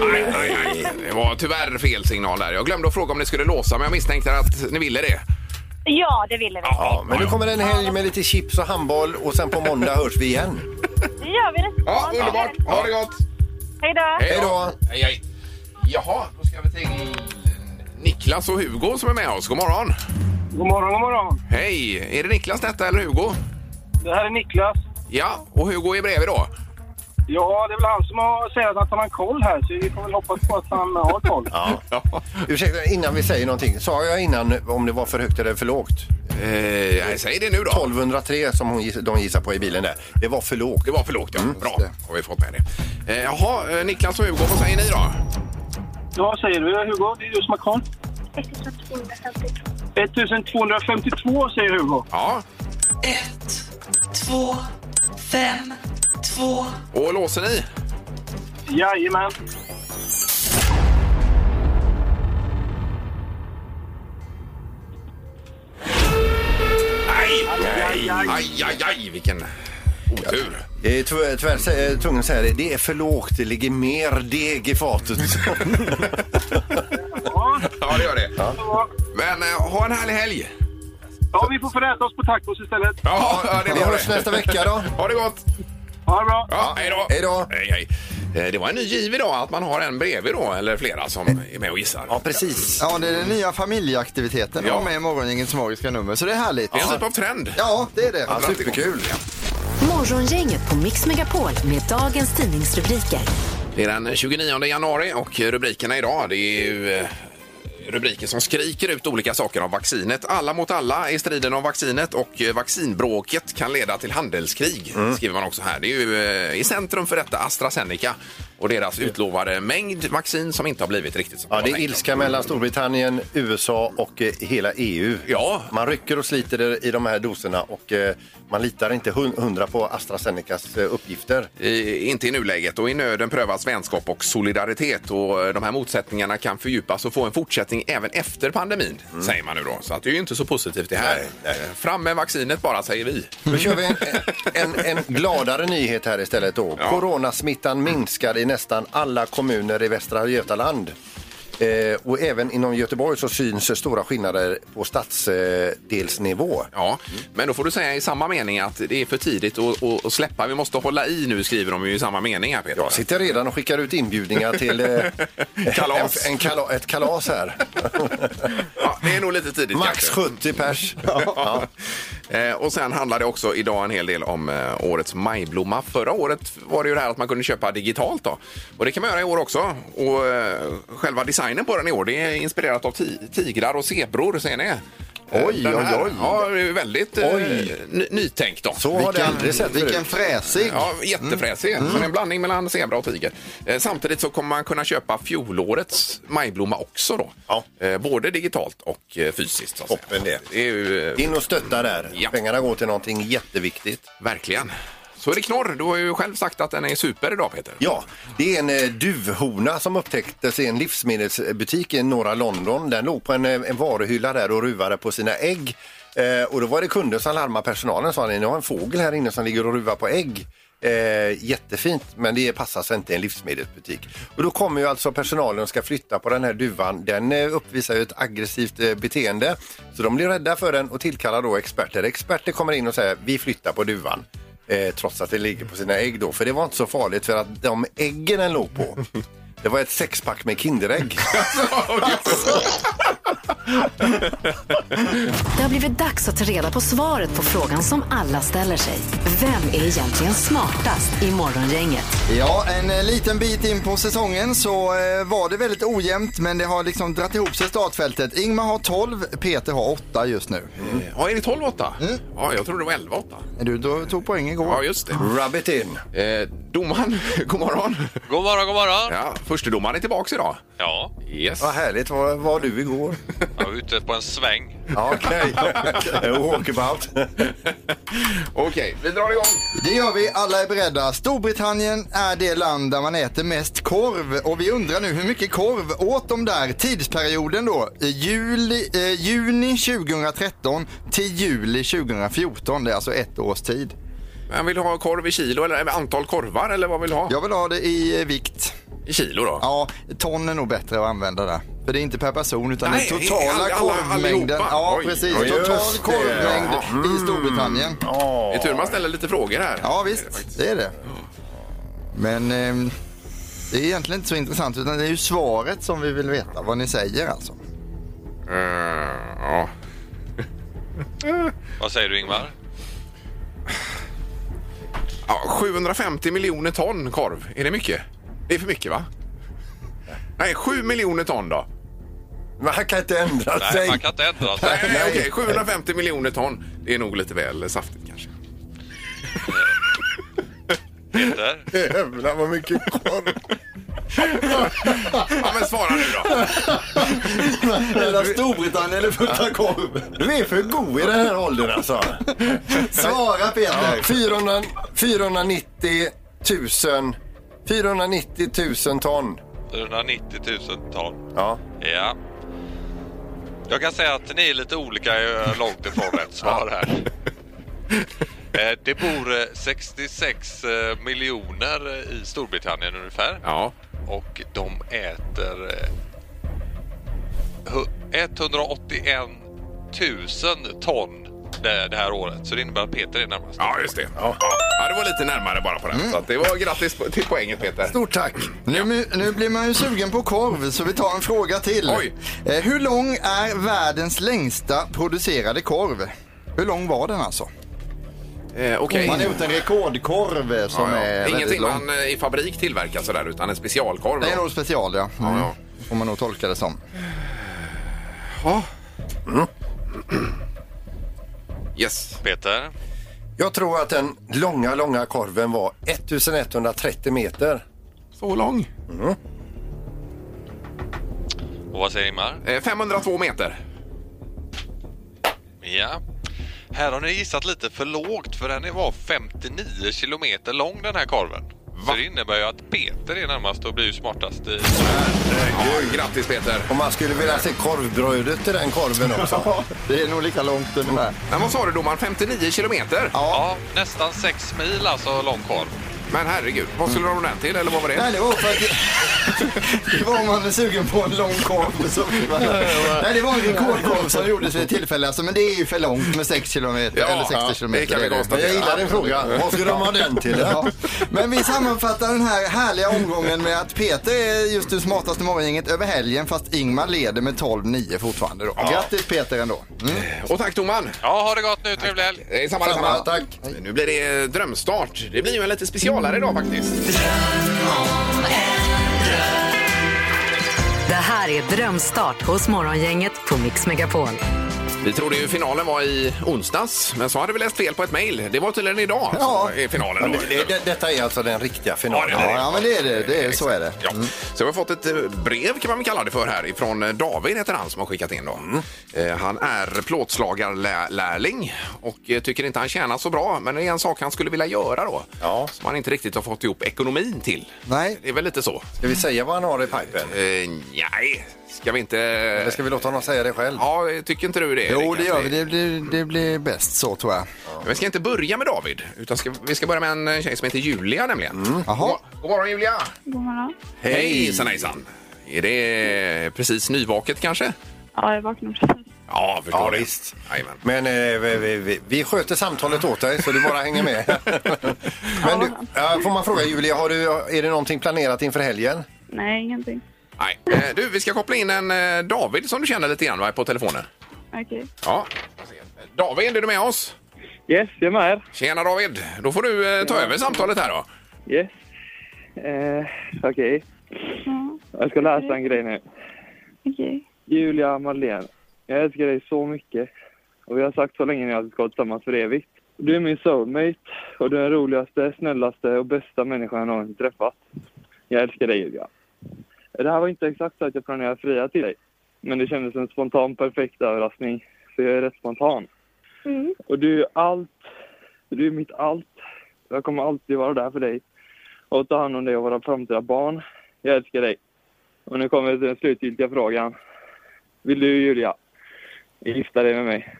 Speaker 4: Nej, nej, nej. Det var tyvärr fel signal där. Jag glömde att fråga om ni skulle låsa, men jag misstänkte att ni ville det.
Speaker 9: Ja, det ville vi.
Speaker 4: Ja,
Speaker 5: Men nu kommer en helg med lite chips och handboll och sen på måndag hörs vi igen.
Speaker 9: Det gör vi. Det.
Speaker 4: Ja, underbart. Ha det gott!
Speaker 9: Hej då.
Speaker 5: Hej då.
Speaker 4: Hej, hej. Jaha, då ska vi till Niklas och Hugo som är med oss. God morgon!
Speaker 7: God morgon, god morgon.
Speaker 4: Hej! Är det Niklas detta eller Hugo?
Speaker 7: Det här är Niklas.
Speaker 4: Ja, och Hugo är bredvid då.
Speaker 7: Ja, det är väl han som har sagt att han har koll här, så vi får väl hoppas på att han har koll.
Speaker 4: Ja.
Speaker 5: Ursäkta, innan vi säger någonting. Sa jag innan om det var för högt eller för lågt?
Speaker 4: Eh, nej, säg det nu då.
Speaker 5: 1203 som hon, giss- de gissar på i bilen där. Det var för lågt.
Speaker 4: Det var för lågt, ja. Bra, har vi fått med det. Eh, jaha, eh, Niklas och Hugo, vad säger ni då?
Speaker 7: Vad säger du, Hugo? Det är du som har koll. 1252 säger Hugo.
Speaker 4: Ja,
Speaker 10: Ett, två, fem, två.
Speaker 4: och låser ni?
Speaker 7: Jajamän.
Speaker 4: Nej! Aj, aj, aj, aj vilken otur.
Speaker 5: Eh, Tyvärr, tyvärr sä- eh, tungan säger det. Det är för lågt. Det ligger mer deg i fatet.
Speaker 7: Ja,
Speaker 4: Ja, det gör det.
Speaker 7: ja.
Speaker 4: Men eh, ha en härlig helg!
Speaker 7: ja vi får få äta oss på tacos istället.
Speaker 4: Ja, ja det
Speaker 5: Vi hörs nästa vecka då.
Speaker 4: Ha det gott!
Speaker 7: Ha det bra.
Speaker 4: Ja, hej då!
Speaker 5: Hej då.
Speaker 4: Hej, hej. Eh, Det var en ny giv idag, att man har en bredvid då, eller flera som är med och gissar.
Speaker 5: Ja, precis.
Speaker 6: Ja, det är den nya familjeaktiviteten.
Speaker 4: Ja.
Speaker 6: Ja. med i morgongängets magiska nummer, så det är härligt.
Speaker 4: Det är en typ av trend.
Speaker 6: Ja, det är det.
Speaker 5: Ja, superkul.
Speaker 3: Morgongänget på Mix Megapol med dagens tidningsrubriker.
Speaker 4: Det är den 29 januari och rubrikerna idag det är ju eh, rubriker som skriker ut olika saker om vaccinet. Alla mot alla i striden om vaccinet och eh, vaccinbråket kan leda till handelskrig,
Speaker 5: Mm.
Speaker 4: skriver man också här. Det är ju eh, i centrum för detta AstraZeneca och deras utlovade mängd vaccin som inte har blivit riktigt som
Speaker 5: Ja,
Speaker 4: de
Speaker 5: det
Speaker 4: var
Speaker 5: är
Speaker 4: tänkt.
Speaker 5: ilska mellan Storbritannien, USA och eh, hela EU.
Speaker 4: Ja.
Speaker 5: Man rycker och sliter i- i de här doserna och eh, man litar inte hun- hundra på AstraZenecas eh,
Speaker 4: Mm.
Speaker 5: uppgifter.
Speaker 4: I, inte i nuläget och i nöden prövas vänskap och solidaritet och eh, de här motsättningarna kan fördjupas och få en fortsättning även efter pandemin, säger man nu då. Så att det är ju inte så positivt det här. Eh, Fram med vaccinet bara, säger vi.
Speaker 5: Nu kör vi en, eh, en, en gladare nyhet här istället då.
Speaker 4: Ja.
Speaker 5: Coronasmittan minskar i nästan alla kommuner i Västra Götaland. Eh, och även inom Göteborg så syns stora skillnader på eh, stadsdelsnivå.
Speaker 4: Ja, men då får du säga i samma mening att det är för tidigt att, att, att släppa. Vi måste hålla i nu, skriver de ju i samma mening här Peter.
Speaker 5: Jag sitter redan och skickar ut inbjudningar till eh,
Speaker 4: Kalas.
Speaker 5: En, en kala, ett kalas här.
Speaker 4: Ja, det är nog lite tidigt
Speaker 5: Max
Speaker 4: kanske.
Speaker 5: 70 pers.
Speaker 4: Ja. Eh, Och sen handlar det också idag en hel del om eh, årets majblomma. Förra året var det ju det här att man kunde köpa digitalt då. Och det kan man göra i år också. Och eh, själva designen på den i år, det är inspirerat av ti- tigrar och zebror, ser ni. Eh,
Speaker 6: Oj,
Speaker 4: den här-
Speaker 6: oj, oj.
Speaker 4: Ja, det är väldigt eh,
Speaker 5: Oj.
Speaker 4: ny- nytänkt då.
Speaker 5: Så har det Mm. aldrig sett
Speaker 6: Vilken
Speaker 5: förut.
Speaker 6: fräsig.
Speaker 4: Ja, jättefräsig. Men en blandning mellan zebra och tiger. Eh, samtidigt så kommer man kunna köpa fjolårets majblomma också då.
Speaker 5: Ja.
Speaker 4: Eh, både digitalt och eh, fysiskt. Så att
Speaker 5: Toppen
Speaker 4: säga.
Speaker 5: det.
Speaker 4: det är ju, eh,
Speaker 5: In och stötta där.
Speaker 4: Ja.
Speaker 5: Pengarna går till någonting jätteviktigt.
Speaker 4: Verkligen. Så är det knorr. Du har ju själv sagt att den är super idag, Peter.
Speaker 5: Ja, det är en eh, duvhona som upptäcktes i en livsmedelsbutik i norra London. Den låg på en, eh, en varuhylla där och ruvade på sina ägg. Eh, och då var det kunder som larmade personalen och sa ni har en fågel här inne som ligger och ruvar på ägg. Eh, jättefint, men det passar sig inte i en livsmedelsbutik. Och då kommer ju alltså personalen och ska flytta på den här duvan. Den eh, uppvisar ju ett aggressivt eh, beteende. Så de blir rädda för den och tillkallar då experter. Experter kommer in och säger vi flyttar på duvan. Eh, trots att det ligger på sina ägg då. För det var inte så farligt för att de äggen den låg på, det var ett sexpack med Kinderägg.
Speaker 3: Det har blivit dags att ta reda på svaret på frågan som alla ställer sig. Vem är egentligen smartast i Morgongänget?
Speaker 6: Ja, en eh, liten bit in på säsongen så eh, var det väldigt ojämnt men det har liksom dratt ihop sig startfältet. Ingmar har 12, Peter har 8 just nu. Mm.
Speaker 4: Ja, är det 12-8? Mm. Ja, jag trodde det var 11-8.
Speaker 6: Du då- tog poäng igår.
Speaker 4: Ja, just det.
Speaker 5: Rub it in.
Speaker 4: Eh, domaren, god morgon.
Speaker 11: God morgon, god morgon.
Speaker 4: Ja, förste domaren är tillbaka idag.
Speaker 11: Ja,
Speaker 4: Yes.
Speaker 5: Vad härligt. Var var du igår?
Speaker 11: jag var ute på en sväng.
Speaker 5: Ja, Okej. Walkabout.
Speaker 4: Okej, vi drar igång.
Speaker 6: Det gör vi, alla är beredda. Storbritannien är det land där man äter mest korv och vi undrar nu hur mycket korv åt de där tidsperioden då? I Juli, eh, juni 2013 till juli 2014, det är alltså ett års tid.
Speaker 4: Men vill du ha korv i kilo eller eh, antal korvar eller vad vill du ha?
Speaker 6: Jag vill ha det i eh, vikt.
Speaker 4: I kilo då?
Speaker 6: Ja, ton är nog bättre att använda där. För det är inte per person utan
Speaker 4: Nej,
Speaker 6: den totala
Speaker 4: alla- alla-
Speaker 6: korvmängden.
Speaker 4: allihopa.
Speaker 6: Ja,
Speaker 4: Oj, Mm.
Speaker 6: precis.
Speaker 4: ja,
Speaker 5: just
Speaker 6: Total
Speaker 5: det.
Speaker 6: korvmängd i Storbritannien.
Speaker 4: Det är tur man ställer lite frågor här.
Speaker 6: Ja, visst. Det är det. Men ehm, det är egentligen inte så intressant utan det är ju svaret som vi vill veta. Vad ni säger alltså.
Speaker 4: Eh, ja.
Speaker 11: Vad säger du Ingmar?
Speaker 4: Ja, 750 miljoner ton korv. Är det mycket? Det är för mycket, va? Nej, 7 miljoner ton då.
Speaker 5: Men han kan inte ändra
Speaker 11: Nej,
Speaker 5: sig.
Speaker 11: man kan inte ändra
Speaker 4: Nej,
Speaker 11: sig.
Speaker 4: nej, okej. 750 miljoner ton. Det är nog lite väl saftigt kanske.
Speaker 11: Peter.
Speaker 5: Jävlar vad mycket korv.
Speaker 4: Ja, men svara nu då.
Speaker 6: Hela Storbritannien är fullt av korv.
Speaker 5: Du är för god i den här åldern alltså.
Speaker 6: Svara Peter.
Speaker 5: 400, 490 000. 490 000 ton.
Speaker 11: 490 000 ton.
Speaker 5: Ja.
Speaker 11: Ja. Jag kan säga att ni är lite olika eh, långt ifrån rätt svar här. Eh, Det bor eh, 66 eh, miljoner eh, i Storbritannien ungefär.
Speaker 4: Ja.
Speaker 11: Och de äter eh, hu- 181 000 ton det, det här året. Så det innebär att Peter är närmast.
Speaker 4: ja, just det. Ja. Ja, det var lite närmare bara på den. Så att det var grattis på- till poängen, Peter.
Speaker 5: Stort tack.
Speaker 6: Nu, nu blir man ju sugen på korv så vi tar en fråga till.
Speaker 4: Oj.
Speaker 6: Eh, hur lång är världens längsta producerade korv? Hur lång var den alltså?
Speaker 4: Eh, Okej.
Speaker 6: Man har gjort en rekordkorv eh, som
Speaker 4: Ja, ja.
Speaker 6: är väldigt
Speaker 4: Ingenting
Speaker 6: lång.
Speaker 4: man eh, i fabrik tillverkar sådär, utan en specialkorv.
Speaker 6: Det är
Speaker 4: då.
Speaker 6: nog special ja. Mm.
Speaker 4: ja.
Speaker 6: Får man nog tolka det som.
Speaker 4: Yes.
Speaker 11: Peter?
Speaker 5: Jag tror att den långa, långa korven var 1130 meter.
Speaker 4: Så lång.
Speaker 11: Och vad säger Ingmar?
Speaker 4: Eh, 502 meter.
Speaker 11: Ja. Här har ni gissat lite för lågt för den var 59 kilometer lång den här korven. Så det innebär ju att Peter är närmast och blir ju smartast i...
Speaker 4: Ja, grattis, Peter.
Speaker 5: Och man skulle vilja se korvbrödet till den korven också.
Speaker 6: Det är nog lika långt ungefär.
Speaker 4: Men vad sa du, domaren? 59 kilometer?
Speaker 11: Ja, nästan 6 mil alltså lång korv.
Speaker 4: Men herregud, vad skulle de ha den till? Eller vad var det?
Speaker 6: Nej, det var för att... Det var om man är sugen på en lång korv. Så... Nej, det var en rekordkorv som gjordes vid ett tillfälle. Alltså, men det är ju för långt med 6 kilometer
Speaker 4: Ja,
Speaker 6: eller 60
Speaker 4: ja, det
Speaker 6: kilometer.
Speaker 4: kan vi
Speaker 6: är
Speaker 4: konstatera.
Speaker 5: Men jag gillar din fråga. Vad skulle de ha den till?
Speaker 6: Ja. Men vi sammanfattar den här härliga omgången med att Peter är just nu smartaste morgongänget över helgen fast Ingmar leder med 12-9 fortfarande då. Grattis Peter ändå. Mm.
Speaker 4: Och tack, domaren.
Speaker 11: Ja, ha det gott nu. Trevlig helg!
Speaker 4: Eh, Samma,
Speaker 5: Samma,
Speaker 4: detsamma.
Speaker 5: tack.
Speaker 4: Nu blir det eh, drömstart. Det blir ju en lite specialare idag faktiskt.
Speaker 3: Det här är Drömstart hos Morgongänget på Mix Megapol.
Speaker 4: Vi trodde ju finalen var i onsdags, men så hade vi läst fel på ett mejl. Det var tydligen idag
Speaker 6: Ja.
Speaker 4: som är finalen. Då.
Speaker 5: Det, det, det- detta är alltså den riktiga finalen.
Speaker 6: Ja, ja, men det är det. det är, så är det. Mm.
Speaker 4: Ja. Så vi har fått ett eh, brev kan man väl kalla det för här ifrån eh, David heter han som har skickat in då.
Speaker 6: Mm.
Speaker 4: Eh, Han är plåtslagarlärling och eh, tycker inte han tjänar så bra men det är en sak han skulle vilja göra då.
Speaker 5: Ja.
Speaker 4: Som han inte riktigt har fått ihop ekonomin till.
Speaker 6: Nej.
Speaker 4: Det är väl lite så.
Speaker 5: Ska vi säga vad han har i pipen?
Speaker 4: Eh, nej, ska vi inte...
Speaker 5: Eller ska vi låta honom säga det själv?
Speaker 4: Ja, tycker inte du det?
Speaker 6: Jo,
Speaker 4: Erik?
Speaker 6: det gör vi. Det blir, det blir bäst så tror jag.
Speaker 4: Vi ska inte börja med David, utan ska, vi ska börja med en eh, tjej som heter Julia nämligen.
Speaker 6: Jaha.
Speaker 4: God morgon Julia!
Speaker 9: God morgon.
Speaker 4: Hej! Hejsan hejsan! Är det precis nyvaket kanske?
Speaker 9: Ja, jag vaknade precis.
Speaker 4: Ja, förstår
Speaker 5: Ja,
Speaker 4: det.
Speaker 5: visst.
Speaker 4: Jajamän.
Speaker 5: Men eh, vi, vi, vi, vi sköter samtalet åt dig så du bara hänger med. Men du, ja, får man fråga Julia, har du, är det någonting planerat inför helgen?
Speaker 9: Nej, ingenting.
Speaker 4: Nej. Eh, Du, vi ska koppla in en eh, David som du känner lite grann va, på telefonen.
Speaker 12: Okej.
Speaker 4: Ja. David, är du med oss?
Speaker 13: Yes, jag är med er.
Speaker 4: Tjena David! Då får du eh, ta över samtalet här då.
Speaker 13: Yes. Eh, Okej. Jag ska läsa en grej nu.
Speaker 12: Okej.
Speaker 13: Julia Marlén, jag älskar dig så mycket. Och vi har sagt så länge nu att vi ska vara tillsammans för evigt. Du är min soulmate och du är den roligaste, snällaste och bästa människan jag någonsin träffat. Jag älskar dig Julia. Det här var inte exakt så att jag planerade att fria till dig. Men det kändes en spontan perfekt överraskning. För jag är rätt spontan.
Speaker 12: Mm.
Speaker 13: Och du är allt. Du är mitt allt. Jag kommer alltid vara där för dig. Och ta hand om dig och våra framtida barn. Jag älskar dig. Och nu kommer den slutgiltiga frågan. Vill du Julia gifta dig med mig?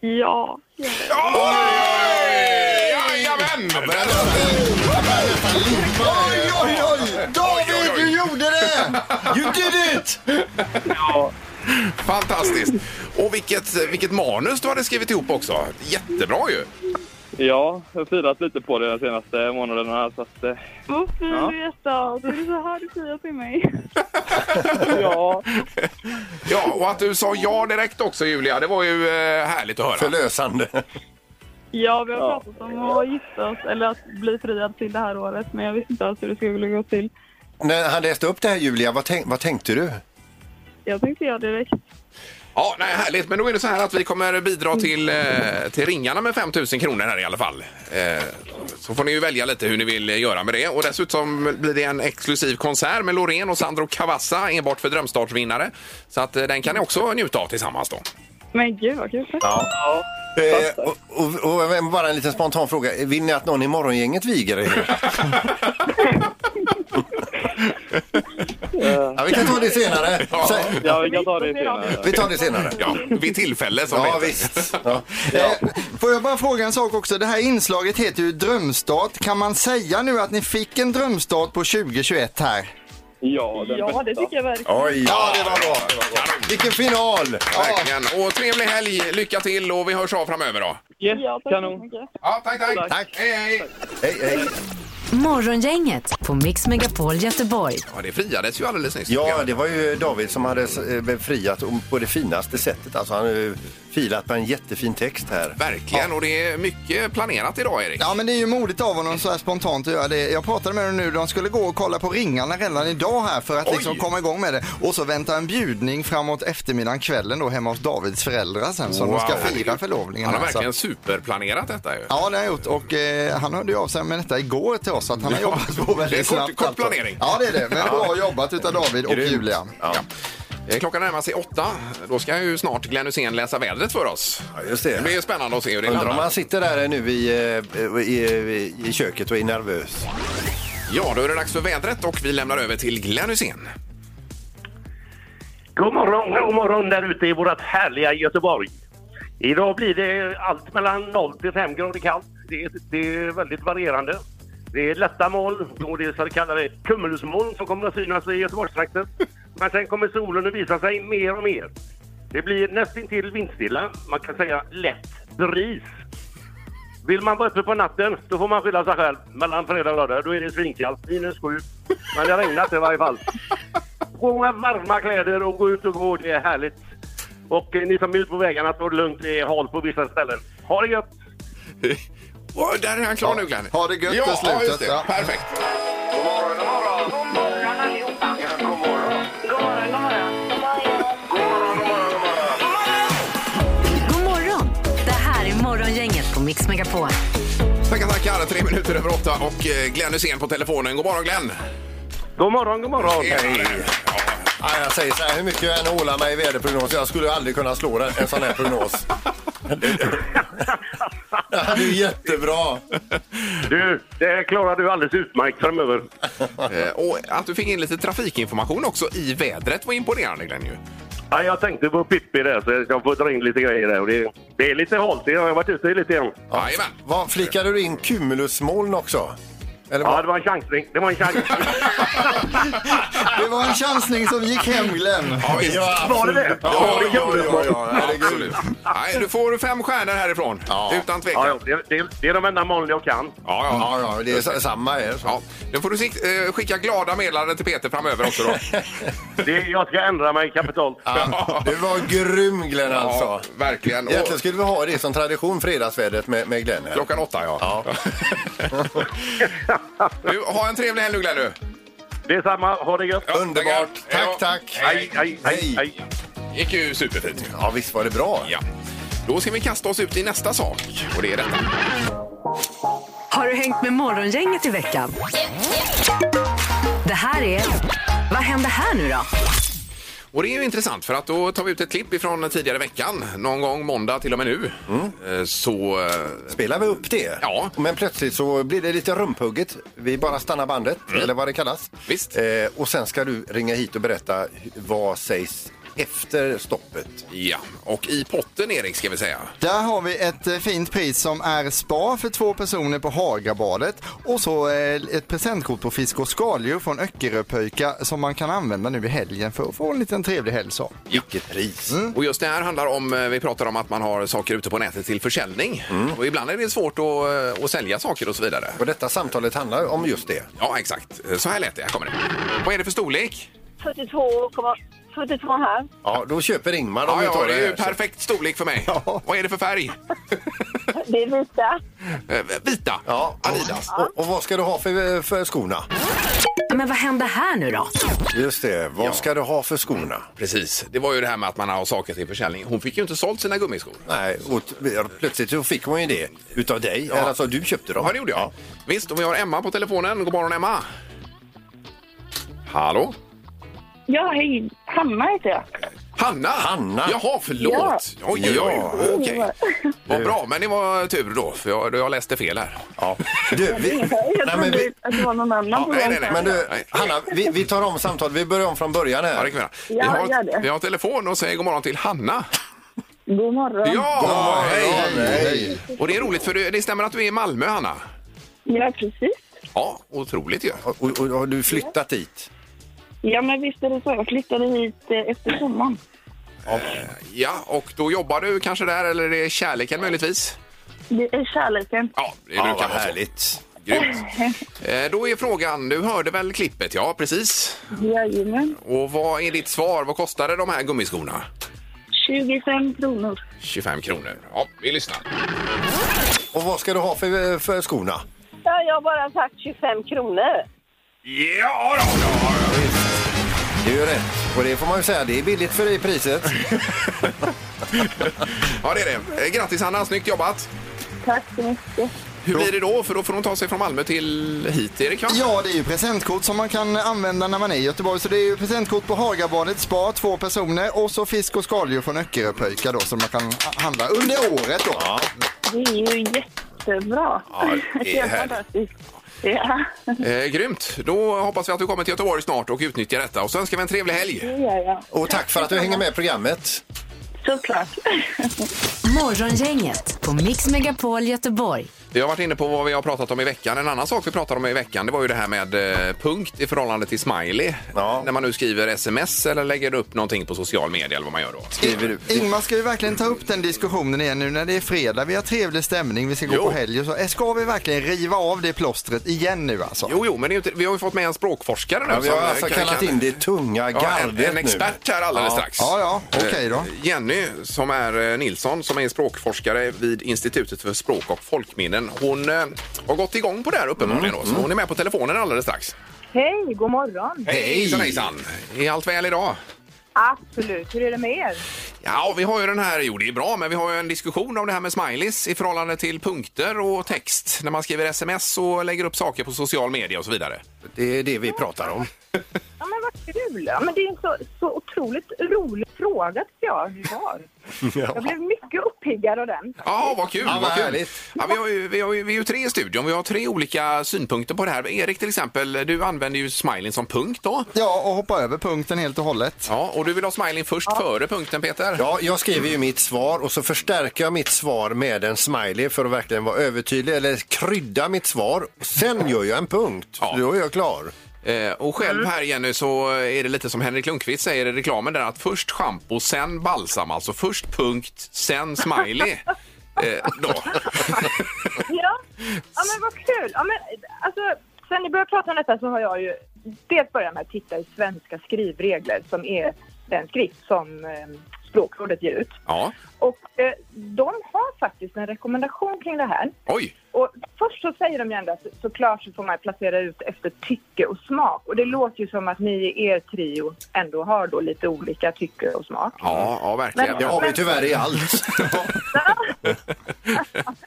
Speaker 12: Ja.
Speaker 4: Jajamän!
Speaker 6: Oj, oj, oj! David, du gjorde det! You did it!
Speaker 13: Ja.
Speaker 4: Fantastiskt! Och vilket, vilket manus du hade skrivit ihop också. Jättebra ju!
Speaker 13: Ja, jag har firat lite på det de senaste månaderna. här, Så att, eh,
Speaker 12: Vad fin
Speaker 13: Ja.
Speaker 12: du är då. Du är så här du säger till mig.
Speaker 13: ja.
Speaker 4: Ja, och att du sa ja direkt också Julia, det var ju eh, härligt att höra.
Speaker 5: Förlösande.
Speaker 12: Ja, vi har
Speaker 4: Ja.
Speaker 12: pratat om att gifta oss eller att bli friad till det här året men jag visste inte alls hur det skulle gå till.
Speaker 5: När han läste upp det här Julia, vad, tänk, vad tänkte du? Eh,
Speaker 12: Jag tänkte jag direkt.
Speaker 4: Ja, nej, härligt. Men då är det så här att vi kommer bidra till, eh, till ringarna med 5 000 kronor här i alla fall. Eh, så får ni ju välja lite hur ni vill göra med det. Och dessutom blir det en exklusiv konsert med Loreen och Sandro Cavazza enbart för drömstartsvinnare. Så att eh, den kan ni också njuta av tillsammans då.
Speaker 12: Men gud vad kul.
Speaker 5: Ja. Eh, och, och, och bara en liten spontan fråga. Vill ni att någon i morgongänget viger er? ja, vi kan ta det senare. Sen-
Speaker 13: ja, vi kan ta det senare.
Speaker 5: Vi tar det senare.
Speaker 4: Ja, vid tillfälle som
Speaker 5: Ja,
Speaker 4: det heter.
Speaker 5: visst. Ja.
Speaker 6: Eh, Får jag bara fråga en sak också? Det här inslaget heter ju Drömstart. Kan man säga nu att ni fick en drömstart på 2021 här?
Speaker 13: Ja, den
Speaker 12: Ja, det tycker jag verkligen.
Speaker 5: Oj! Ja, det var bra. Vilken final!
Speaker 4: Verkligen. Och trevlig helg, lycka till och vi hörs av framöver då.
Speaker 13: Yes,
Speaker 12: ja, tack så
Speaker 13: kanon.
Speaker 12: mycket.
Speaker 4: Ja, tack, tack. tack. Hej, hej.
Speaker 5: Hej, hej.
Speaker 3: Morgongänget på Mix Megapol Göteborg.
Speaker 4: Ja, det friades ju alldeles nyss.
Speaker 5: Ja, det var ju David som hade eh, befriat om- på det finaste sättet. Alltså han har ju filat på en jättefin text här.
Speaker 4: Verkligen, och det är mycket planerat idag Erik.
Speaker 6: Ja men det är ju modigt av honom så här spontant att göra det. Jag pratade med dem nu, de skulle gå och kolla på ringarna redan idag här för att liksom komma igång med det. Och så vänta en bjudning framåt eftermiddagen, kvällen då hemma hos Davids föräldrar sen som de ska fira förlovningen. alltså.
Speaker 4: Han har
Speaker 6: här, så-
Speaker 4: verkligen superplanerat detta ju.
Speaker 6: Ja, det har jag gjort och eh, han hörde ju av sig med detta igår till oss att han har
Speaker 4: Ja,
Speaker 6: jobbat på
Speaker 4: det är
Speaker 6: väldigt
Speaker 4: kort-
Speaker 6: snabbt.
Speaker 4: kort
Speaker 6: alltså.
Speaker 4: planering.
Speaker 6: Ja, det är det. Men
Speaker 4: Ja.
Speaker 6: bra jobbat utav David och
Speaker 4: Grymt.
Speaker 6: Julia.
Speaker 4: Ja. Eh, Klockan närmar sig åtta. Då ska ju snart Glenn Hussein läsa vädret för oss.
Speaker 5: Ja, just det.
Speaker 4: det blir ju spännande att se hur det
Speaker 5: Undrar om
Speaker 4: landar.
Speaker 5: han sitter där nu i, eh, i, i, i köket och är nervös.
Speaker 4: Ja, då är det dags för vädret och vi lämnar över till Glenn Hussein.
Speaker 14: God morgon, god morgon där ute i vårt härliga Göteborg. Idag blir det allt mellan 0 till 5 grader kallt. Det, är- det är väldigt varierande. Det är lätta moln och det är så kallade cumulusmoln som kommer att synas i Göteborgstrakten. Men sen kommer solen att visa sig mer och mer. Det blir nästintill vindstilla. Man kan säga lätt bris. Vill man vara uppe på natten, då får man skylla sig själv. Mellan fredag och lördag, då är det svinkallt. Minus sju. Men det har regnat i varje fall. På med varma kläder och gå ut och gå. Det är härligt. Och eh, ni som är ute på vägarna, ta det lugnt. Det är halt på vissa ställen. Ha det gött!
Speaker 4: Oh, där är han klar nu Glenn.
Speaker 6: Ha det gött
Speaker 4: ja,
Speaker 6: i slutet,
Speaker 4: Ja, just det.
Speaker 6: ja.
Speaker 4: Perfekt.
Speaker 3: God morgon! Det här är Morgongänget på Mix Megapol.
Speaker 4: Tackar, tackar. Tre minuter över åtta och eh, Glenn Hussein på telefonen. God morgon Glenn.
Speaker 14: God morgon, god morgon.
Speaker 4: Hej.
Speaker 5: Ja, jag säger så här, hur mycket jag än ålar mig i väderprognos, jag skulle aldrig kunna slå en, en sån här prognos. Det här är ju jättebra.
Speaker 14: Du, det klarar du alldeles utmärkt framöver.
Speaker 4: Eh, Och att du fick in lite trafikinformation också i vädret var imponerande Glenn ju.
Speaker 14: Ja, jag tänkte på Pippi där, så jag ska få dra in lite grejer där. Och det, det är lite halt. Jag har varit ute lite grann.
Speaker 4: Jajamän.
Speaker 5: Vad, flickade du in cumulusmoln också?
Speaker 14: Ja, det var en chansning. Det var en chansning.
Speaker 6: Det var en chansning som gick hem, Glenn.
Speaker 14: var det det?
Speaker 4: Ja, ja, ja, ja, absolut. Nej, du får fem stjärnor härifrån. Utan tvekan.
Speaker 14: Ja, ja, det, det, det är de enda målen jag kan.
Speaker 4: Ja, ja,
Speaker 5: ja, ja, det är sa- samma här.
Speaker 4: Ja. Då får du sikt, eh, skicka glada meddelanden till Peter framöver också då.
Speaker 14: Det, jag ska ändra mig kapitalt.
Speaker 4: Ja.
Speaker 5: Du var grym Glenn alltså.
Speaker 4: Ja, verkligen. Och
Speaker 5: Egentligen skulle vi ha det som tradition, fredagsvädret med, med Glenn. Här.
Speaker 4: klockan åtta, ja. du, ha en trevlig helg nu, Glenn. Du.
Speaker 14: Det är samma. Ha det gött.
Speaker 4: Ja,
Speaker 5: Underbart.
Speaker 4: Hej då.
Speaker 5: Tack, tack.
Speaker 14: Hej, hej, hej, hej.
Speaker 4: gick ju superfint.
Speaker 5: Ja, visst var det bra.
Speaker 4: Ja. Då ska vi kasta oss ut i nästa sak. Och det är detta.
Speaker 3: Har du hängt med Morgongänget i veckan? Det här är... Vad händer här nu då?
Speaker 4: Och det är ju intressant för att då tar vi ut ett klipp ifrån tidigare veckan. Någon gång måndag till och med nu. Eh, Så... eh,
Speaker 5: Spelar vi upp det?
Speaker 4: Ja.
Speaker 5: Men plötsligt så blir det lite rumphugget. Vi bara stannar bandet, eller vad det kallas.
Speaker 4: Mm. Visst.
Speaker 5: Eh, och sen ska du ringa hit och berätta hu- vad sägs efter stoppet.
Speaker 4: Ja, och i potten Erik ska vi säga.
Speaker 6: Där har vi ett eh, fint pris som är spa för två personer på Hagabadet och så eh, ett presentkort på fisk och skaldjur från Öckeröpöjka som man kan använda nu i helgen för att få en liten trevlig helg. så.
Speaker 5: Vilket pris!
Speaker 4: Och just det här handlar om, eh, vi pratar om att man har saker ute på nätet till försäljning. Och ibland är det svårt att, eh, att sälja saker och så vidare.
Speaker 5: Och detta samtalet handlar om just det.
Speaker 4: Ja, exakt. Eh, Så här lät det. Här kommer det. Vad är det för storlek?
Speaker 9: 42, 42 här.
Speaker 5: Ja, då köper Ingmar om
Speaker 4: Ja,
Speaker 5: vi
Speaker 4: ja,
Speaker 5: tar
Speaker 4: det är ju
Speaker 5: här.
Speaker 4: perfekt storlek för mig. Vad är det för färg?
Speaker 9: Det är vita.
Speaker 4: Eh, Vita.
Speaker 5: Ja,
Speaker 4: Adidas.
Speaker 5: Och, och vad ska du ha för, för skorna?
Speaker 3: Men vad händer här nu då?
Speaker 5: Just det, vad
Speaker 4: Ja.
Speaker 5: ska du ha för skorna?
Speaker 4: Precis. Det var ju det här med att man har saker till försäljning. Hon fick ju inte sålt sina gummiskor.
Speaker 5: Nej, och t- plötsligt så fick hon ju det utav dig.
Speaker 4: Ja.
Speaker 5: Alltså, du köpte dem.
Speaker 4: Ja, det gjorde jag. Visst, och vi har Emma på telefonen. God morgon, Emma. Hallå?
Speaker 2: Ja, hej. Hanna heter jag.
Speaker 4: Hanna!
Speaker 5: Hanna.
Speaker 4: Jaha, förlåt! Oj, oj, oj.
Speaker 5: Ja.
Speaker 4: Okej. Vad bra, men det var tur då, för jag, jag läste fel här.
Speaker 5: Ja. Du, vi,
Speaker 2: Jag
Speaker 5: nej, men
Speaker 2: trodde
Speaker 5: vi,
Speaker 2: att det var någon annan på
Speaker 4: nej,
Speaker 2: gång.
Speaker 4: nej, nej.
Speaker 5: men du,
Speaker 4: Nej.
Speaker 5: Hanna, vi, vi tar om samtalet. Vi börjar om från början
Speaker 4: Ja, det
Speaker 5: här.
Speaker 4: kan vi göra. vi,
Speaker 2: Ja, gör
Speaker 4: har,
Speaker 2: det.
Speaker 4: vi har telefon och säger god morgon till Hanna.
Speaker 2: God morgon.
Speaker 4: Ja, hej, hej.
Speaker 5: hej.
Speaker 4: Och det är roligt, för det, det stämmer att du är i Malmö, Hanna.
Speaker 2: Ja, precis.
Speaker 4: Ja, otroligt ju.
Speaker 5: Och, och, och har du flyttat dit?
Speaker 2: Ja, men visst är det så. Jag flyttade hit eh, efter sommaren.
Speaker 4: Ja, och då jobbar du kanske där, eller det är kärleken möjligtvis?
Speaker 2: Det är kärleken.
Speaker 4: Ja, det brukar
Speaker 5: vad
Speaker 4: vara så.
Speaker 5: härligt.
Speaker 4: Grymt. Eh, Då är frågan, du hörde väl klippet? Ja, precis.
Speaker 2: Jajamän.
Speaker 4: Och vad är ditt svar? Vad kostade de här gummiskorna?
Speaker 2: 25 kronor.
Speaker 4: 25 kronor. Ja, vi lyssnar.
Speaker 5: Och vad ska du ha för, för skorna?
Speaker 9: Ja, jag har bara sagt 25 kronor.
Speaker 4: Ja då! Ja, ja.
Speaker 5: Det är ju rätt. Och det får man ju säga, det är billigt för det priset.
Speaker 4: ja, det är det. Eh, Grattis Hanna, snyggt jobbat!
Speaker 2: Tack så mycket.
Speaker 4: Hur blir det då? För då får hon ta sig från Malmö till hit, Erik va?
Speaker 6: Ja, det är ju presentkort som man kan använda när man är i Göteborg. Så det är ju presentkort på Hagabadet, spa, två personer och så fisk och skaldjur från Öckeröpöjka då som man kan handla under året då.
Speaker 2: Det är ju jättebra.
Speaker 4: Ja, det är
Speaker 2: Helt
Speaker 4: härligt.
Speaker 2: fantastiskt. Ja,
Speaker 4: Eh, grymt! Då hoppas vi att du kommer till Göteborg snart och utnyttjar detta. Och så önskar vi en trevlig helg!
Speaker 2: det gör jag.
Speaker 5: Och tack för att du hänger med i programmet.
Speaker 2: Såklart.
Speaker 3: Morgongänget på Mix Megapol Göteborg.
Speaker 4: Vi har varit inne på vad vi har pratat om i veckan. En annan sak vi pratade om i veckan det var ju det här med eh, punkt i förhållande till smiley.
Speaker 5: Ja.
Speaker 4: När man nu skriver sms eller lägger upp någonting på social media eller vad man gör då.
Speaker 5: Skriver du?
Speaker 6: Ingmar, ska vi verkligen ta upp den diskussionen igen nu när det är fredag, vi har trevlig stämning, vi ska gå
Speaker 4: Jo.
Speaker 6: på helg och så. Eh, Ska vi verkligen riva av det plåstret igen nu alltså?
Speaker 4: Jo, jo, men det är ju inte, vi har ju fått med en språkforskare nu.
Speaker 5: Ja, vi har
Speaker 4: som, eh,
Speaker 5: alltså
Speaker 4: kan-
Speaker 5: kallat
Speaker 4: kan-
Speaker 5: in det tunga
Speaker 4: Ja, en,
Speaker 5: gardet
Speaker 4: en expert här alldeles strax. Eh,
Speaker 6: Ja, ja, okej då.
Speaker 4: Jenny, som är eh, Nilsson, som är språkforskare vid Institutet för språk och folkminnen, hon eh, har gått igång på det här uppenbarligen. då, så hon är med på telefonen alldeles strax.
Speaker 12: Hej, god morgon.
Speaker 4: Hej! Hejsan, hejsan! Är allt väl idag?
Speaker 12: Absolut, hur är det med er?
Speaker 4: Ja, vi har ju den här, jo det är bra, men vi har ju en diskussion om det här med smileys i förhållande till punkter och text när man skriver sms och lägger upp saker på social media och så vidare.
Speaker 5: nu. Det är det vi pratar om.
Speaker 12: Ja, men vad kul. Ja, men det är en så, så otroligt rolig
Speaker 15: frågat jag var. Jag blev mycket uppiggad av den.
Speaker 4: Ja, vad kul!
Speaker 5: Ja, vad
Speaker 4: vad kul.
Speaker 5: härligt.
Speaker 4: Ja, vi, har ju, vi, har ju, vi är ju tre i studion, vi har tre olika synpunkter på det här. Erik till exempel, du använder ju smileyn som punkt då.
Speaker 6: Ja, och hoppa över punkten helt och hållet.
Speaker 4: Ja, och du vill ha smileyn först före punkten Peter?
Speaker 5: Ja, jag skriver ju mitt svar och så förstärker jag mitt svar med en smiley för att verkligen vara övertydlig eller krydda mitt svar. Sen gör jag en punkt. Då är jag klar.
Speaker 4: Eh, och
Speaker 15: Mm.
Speaker 4: själv här Jenny så är det lite som Henrik Lundqvist säger i reklamen där att först schampo, sen balsam. Alltså först punkt, sen smiley. Eh, då.
Speaker 15: Ja, ja men vad kul. Ja, men, alltså, sen ni började prata om detta så har jag ju dels börjat med att titta i svenska skrivregler som är den skrift som eh, Språkrådet ger ut.
Speaker 4: Ja.
Speaker 15: Och eh, de har faktiskt en rekommendation kring det här.
Speaker 4: Oj!
Speaker 15: Och först så säger de ju ändå att såklart så får man placera ut efter tycke och smak. Och det låter ju som att ni i er trio ändå har då lite olika tycke och smak.
Speaker 4: Ja, ja verkligen.
Speaker 15: Men- Det har vi men- tyvärr i
Speaker 5: allt.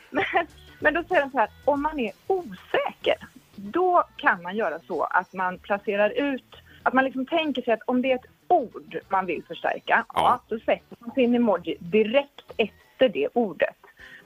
Speaker 15: Men, men då säger de så här, om man är osäker, då kan man göra så att man placerar ut, att man liksom tänker sig att om det är ett ord man vill förstärka, ja. då sätter man sin emoji direkt efter det ordet.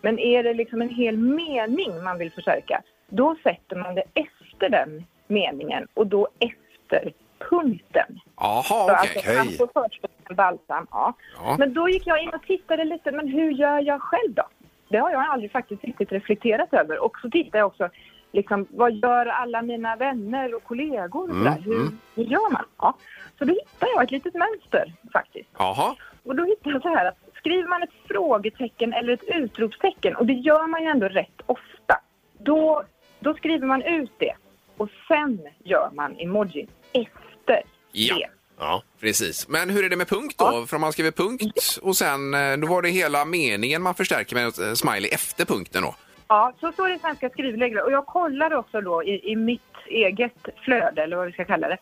Speaker 15: Men är det liksom en hel mening man vill förstärka, då sätter man det efter den meningen och då efter punkten. Så
Speaker 4: Jaha,
Speaker 15: att
Speaker 4: okej.
Speaker 15: man Alltså, får först en balsam, ja.
Speaker 4: Ja.
Speaker 15: Men då gick jag in och tittade lite, men hur gör jag själv då? Det har jag aldrig faktiskt riktigt reflekterat över. Och så tittade jag också, liksom, vad gör alla mina vänner och kollegor? och
Speaker 4: Mm,
Speaker 15: sådär? Hur,
Speaker 4: mm.
Speaker 15: hur gör man? Ja. Så då hittade jag ett litet mönster faktiskt.
Speaker 4: Jaha.
Speaker 15: Och då hittade jag så här att skriver man ett frågetecken eller ett utropstecken, och det gör man ju ändå rätt ofta, då, då skriver man ut det och sen gör man emojin efter
Speaker 4: Ja. ja, precis. Men hur är det med punkt då? För om man skriver punkt och sen eh, då var det hela meningen man förstärker med eh, smiley efter punkten då.
Speaker 15: Ja, så står det i svenska skrivregler. Och jag kollar också då i, i mitt eget flöde, eller vad vi ska kalla det.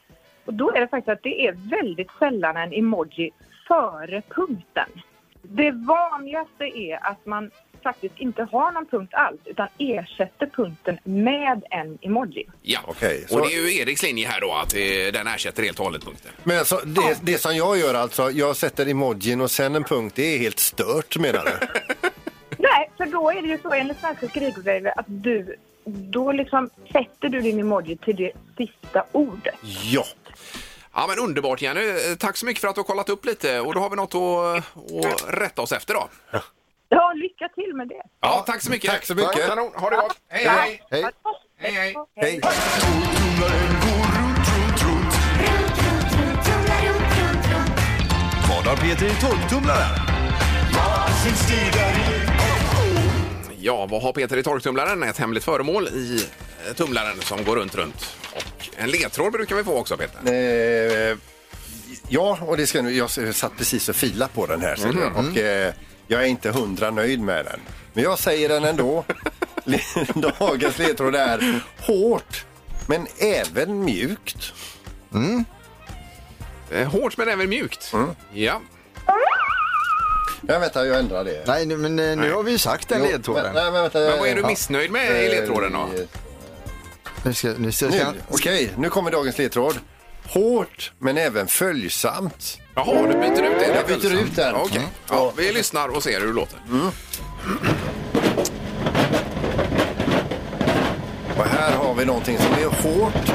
Speaker 15: Och då är det faktiskt att det är väldigt sällan en emoji före punkten. Det vanligaste är att man faktiskt inte har någon punkt alls, utan ersätter punkten med en emoji.
Speaker 4: Ja,
Speaker 5: så-
Speaker 4: och det är ju Eriks linje här då att eh, den ersätter helt och hållet punkten.
Speaker 5: Men alltså, det, det som jag gör alltså, jag sätter emojin och sen en punkt. Det är helt stört menar du?
Speaker 15: Nej, för då är det ju så enligt svenska skrivregler att du, då liksom sätter du din emoji till det sista ordet.
Speaker 5: Ja.
Speaker 4: Ja, men underbart Jenny. Eh, Tack så mycket för att du har kollat upp lite och då har vi något att, att rätta oss efter då.
Speaker 15: Ja, lycka till med det!
Speaker 4: Ja, tack så mycket. Tack
Speaker 5: så mycket.
Speaker 4: Kanon, ha det gott. Hej, hej.
Speaker 6: Hej.
Speaker 4: Hej,
Speaker 5: Hej.
Speaker 4: hej.
Speaker 16: Vad har Peter i torktumlaren?
Speaker 4: Ja, vad har Peter i torktumlaren? Ett hemligt föremål i eh, tumlaren som går runt, runt. Och en ledtråd brukar vi få också, Peter.
Speaker 5: Eh, ja, och det ska nu, jag satt precis och filade på den här. ser du.
Speaker 4: Mhm.
Speaker 5: Och, eh, jag är inte hundra nöjd med den. Men jag säger den ändå. Dagens ledtråd är hårt, men även mjukt.
Speaker 4: Eh, Hårt men även mjukt.
Speaker 5: Mm.
Speaker 4: Ja.
Speaker 5: Ja, vänta, jag ändrar det.
Speaker 6: Nej, eh, nu- men eh, nu har vi ju sagt den
Speaker 5: Jo,
Speaker 6: ledtråden.
Speaker 5: men- nej, men vänta,
Speaker 4: Men vad är du missnöjd med i
Speaker 5: Eh,
Speaker 4: ledtråden då?
Speaker 6: Nu ska, nu ska,
Speaker 5: Nu,
Speaker 6: ska,
Speaker 5: okej, nu kommer dagens ledtråd. Hårt, men även följsamt.
Speaker 4: Jaha, du byter ut den?
Speaker 5: Jag byter ut den.
Speaker 4: Okej. Ja, vi lyssnar och ser hur det låter.
Speaker 5: Och här har vi någonting som är hårt,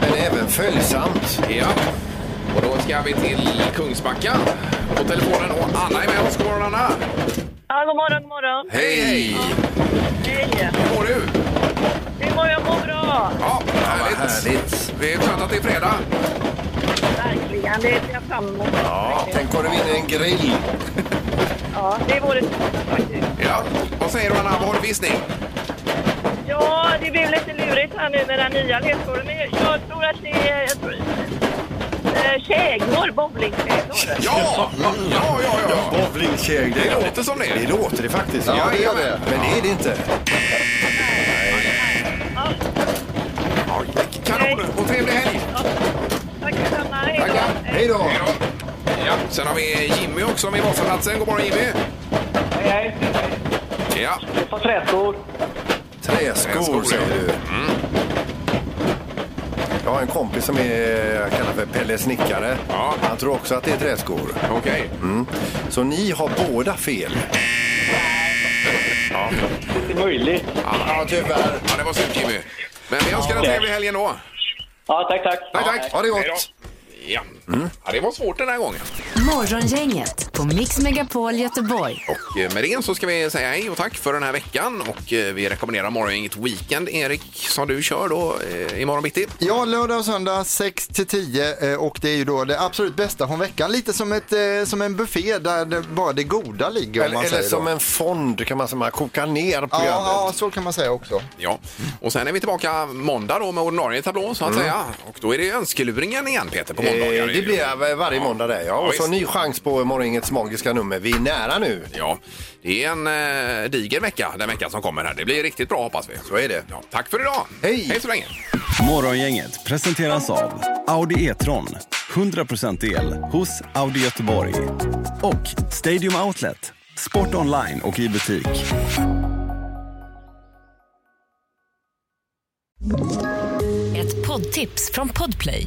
Speaker 5: men även följsamt.
Speaker 4: Ja. Och då ska vi till Kungsbacka på telefonen och Anna är med oss. God morgon, Anna!
Speaker 17: Ja, god morgon, god morgon.
Speaker 4: Hej, hej!
Speaker 17: Hej.
Speaker 4: Hur mår du?
Speaker 17: Hur mår jag? Mår bra.
Speaker 4: Ja, härligt. Det är skönt att det är fredag.
Speaker 17: Verkligen. Det ser jag fram emot.
Speaker 5: Ja. Tänk om du vinner en grill.
Speaker 17: Ja, det vore
Speaker 4: Ja. Vad säger du, Anna? Vad har du för gissning?
Speaker 17: Ja, det blev lite lurigt här nu med den nya ledtråden. Men jag- jag tror att det är... Jag tror, eh, käglor, bowlingkäglor.
Speaker 4: Ja! Ja, ja, ja! ja.
Speaker 5: Bowlingkeg,
Speaker 4: Det låter som det.
Speaker 5: Det låter det faktiskt.
Speaker 4: Ja, det gör
Speaker 5: det. Men det är det inte.
Speaker 4: Kanon! Och trevlig helg! Tackar!
Speaker 5: Hej då!
Speaker 4: Ja, sen har vi Jimmy också med Vasaplatsen. God morgon, Jimmy! Hej, hej! Ja.
Speaker 7: På träskor.
Speaker 5: Träskor säger du. Jag har en kompis som är, jag kallar för Pelle Snickare. Han tror också att det är träskor.
Speaker 4: Okej.
Speaker 5: Mm. Så ni har båda fel.
Speaker 4: Ja.
Speaker 5: Inte möjligt.
Speaker 4: Ja,
Speaker 5: tyvärr.
Speaker 4: Ja, det var surt Jimmy. Men vi önskar en
Speaker 5: Ja.
Speaker 4: trevlig helg då.
Speaker 18: Ja, tack, tack.
Speaker 4: Tack, tack.
Speaker 5: Ha det gott.
Speaker 4: Hej då. Ja. Mm. ja, det var svårt den här gången.
Speaker 3: Morgongänget på Mix Megapol Göteborg.
Speaker 4: Och eh, med det så ska vi säga hej och tack för den här veckan. Och eh, vi rekommenderar Morgongänget Weekend, Erik, som du kör då eh, imorgon bitti.
Speaker 6: Ja, lördag och söndag 6 till 10 eh, och det är ju då det absolut bästa från veckan. Lite som, ett, eh, som en buffé där det, bara det goda ligger om
Speaker 5: Eller,
Speaker 6: man
Speaker 5: eller
Speaker 6: säger
Speaker 5: som
Speaker 6: då.
Speaker 5: en fond kan man säga, man kokar ner programmet.
Speaker 6: Ja, ja, så kan man säga också.
Speaker 4: Ja, och sen är vi tillbaka måndag då med ordinarie tablå så att
Speaker 5: Mm.
Speaker 4: säga. Och då är det önskeluringen igen Peter på
Speaker 5: Eh,
Speaker 4: måndagar.
Speaker 5: det blir var- varje
Speaker 4: Ja.
Speaker 5: måndag där ja. Och så
Speaker 4: visst.
Speaker 5: ny chans på Morgongängets magiska nummer. Vi är nära nu.
Speaker 4: Ja, det är en eh, diger vecka den veckan som kommer här. Det blir riktigt bra hoppas vi. Så är det. Ja, tack för idag! Hej! Hej så länge!
Speaker 16: Morgongänget presenteras av Audi E-tron. 100% el hos Audi Göteborg. Och Stadium Outlet. Sport online och i butik.
Speaker 19: Ett poddtips från Podplay.